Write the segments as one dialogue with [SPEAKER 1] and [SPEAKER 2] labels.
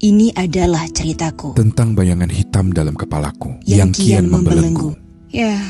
[SPEAKER 1] Ini adalah ceritaku
[SPEAKER 2] tentang bayangan hitam dalam kepalaku
[SPEAKER 1] yang, kian, membelenggu. Ya,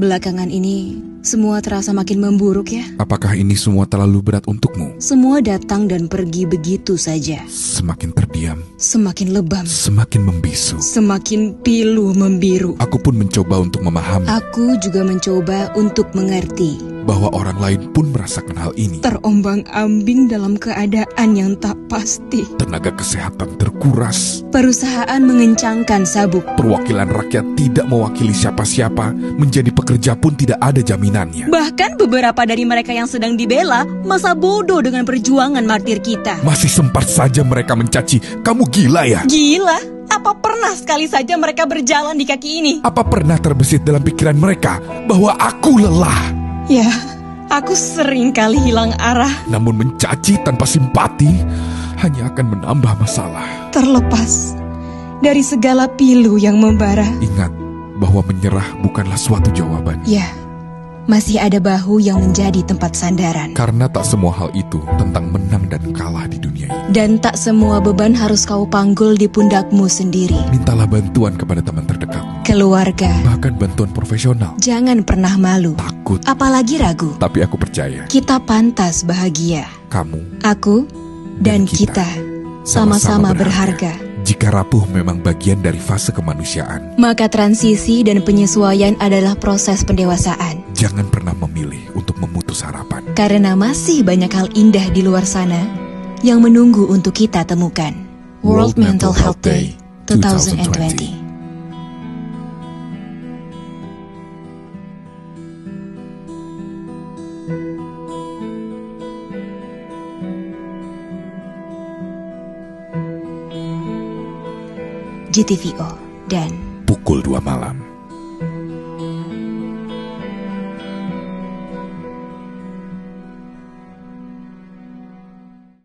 [SPEAKER 1] belakangan ini semua terasa makin memburuk ya.
[SPEAKER 2] Apakah ini semua terlalu berat untukmu?
[SPEAKER 1] Semua datang dan pergi begitu saja.
[SPEAKER 2] Semakin terdiam,
[SPEAKER 1] Semakin lebam,
[SPEAKER 2] semakin membisu.
[SPEAKER 1] semakin pilu membiru.
[SPEAKER 2] Aku pun mencoba untuk memahami
[SPEAKER 1] Aku juga mencoba untuk mengerti.
[SPEAKER 2] bahwa orang lain pun merasakan hal ini.
[SPEAKER 1] Terombang-ambing dalam keadaan yang tak pasti.
[SPEAKER 2] Tenaga kesehatan terkuras,
[SPEAKER 1] Perusahaan mengencangkan sabuk.
[SPEAKER 2] perwakilan rakyat tidak mewakili siapa-siapa, menjadi pekerja pun tidak ada jaminannya.
[SPEAKER 1] Bahkan beberapa dari mereka yang sedang dibela masa bodoh dengan perjuangan martir kita.
[SPEAKER 2] Masih sempat saja mereka mencaci, "Kamu gila ya?"
[SPEAKER 1] Gila, apa pernah sekali saja mereka berjalan di kaki ini?
[SPEAKER 2] Apa pernah terbesit dalam pikiran mereka bahwa aku lelah?
[SPEAKER 1] Ya, aku sering kali hilang arah,
[SPEAKER 2] Namun mencaci tanpa simpati hanya akan menambah masalah.
[SPEAKER 1] terlepas dari segala pilu yang membara.
[SPEAKER 2] Ingat bahwa menyerah bukanlah suatu jawaban.
[SPEAKER 1] Ya, masih ada bahu yang menjadi tempat sandaran.
[SPEAKER 2] Karena tak semua hal itu tentang menang dan kalah di dunia ini.
[SPEAKER 1] Dan tak semua beban harus kau panggul di pundakmu sendiri.
[SPEAKER 2] Mintalah bantuan kepada teman terdekat,
[SPEAKER 1] Keluarga,
[SPEAKER 2] bahkan bantuan profesional.
[SPEAKER 1] jangan pernah malu,
[SPEAKER 2] Takut,
[SPEAKER 1] apalagi ragu.
[SPEAKER 2] tapi aku percaya
[SPEAKER 1] Kita pantas bahagia.
[SPEAKER 2] kamu
[SPEAKER 1] Aku dan
[SPEAKER 2] Dan kita
[SPEAKER 1] kita sama-sama berharga.
[SPEAKER 2] Jika rapuh memang bagian dari fase kemanusiaan,
[SPEAKER 1] Maka transisi dan penyesuaian adalah proses pendewasaan.
[SPEAKER 2] jangan pernah memilih untuk memutus harapan.
[SPEAKER 1] Karena masih banyak hal indah di luar sana yang menunggu untuk kita temukan. World Mental Health Day 2020. GTVO dan
[SPEAKER 2] Pukul 2 malam.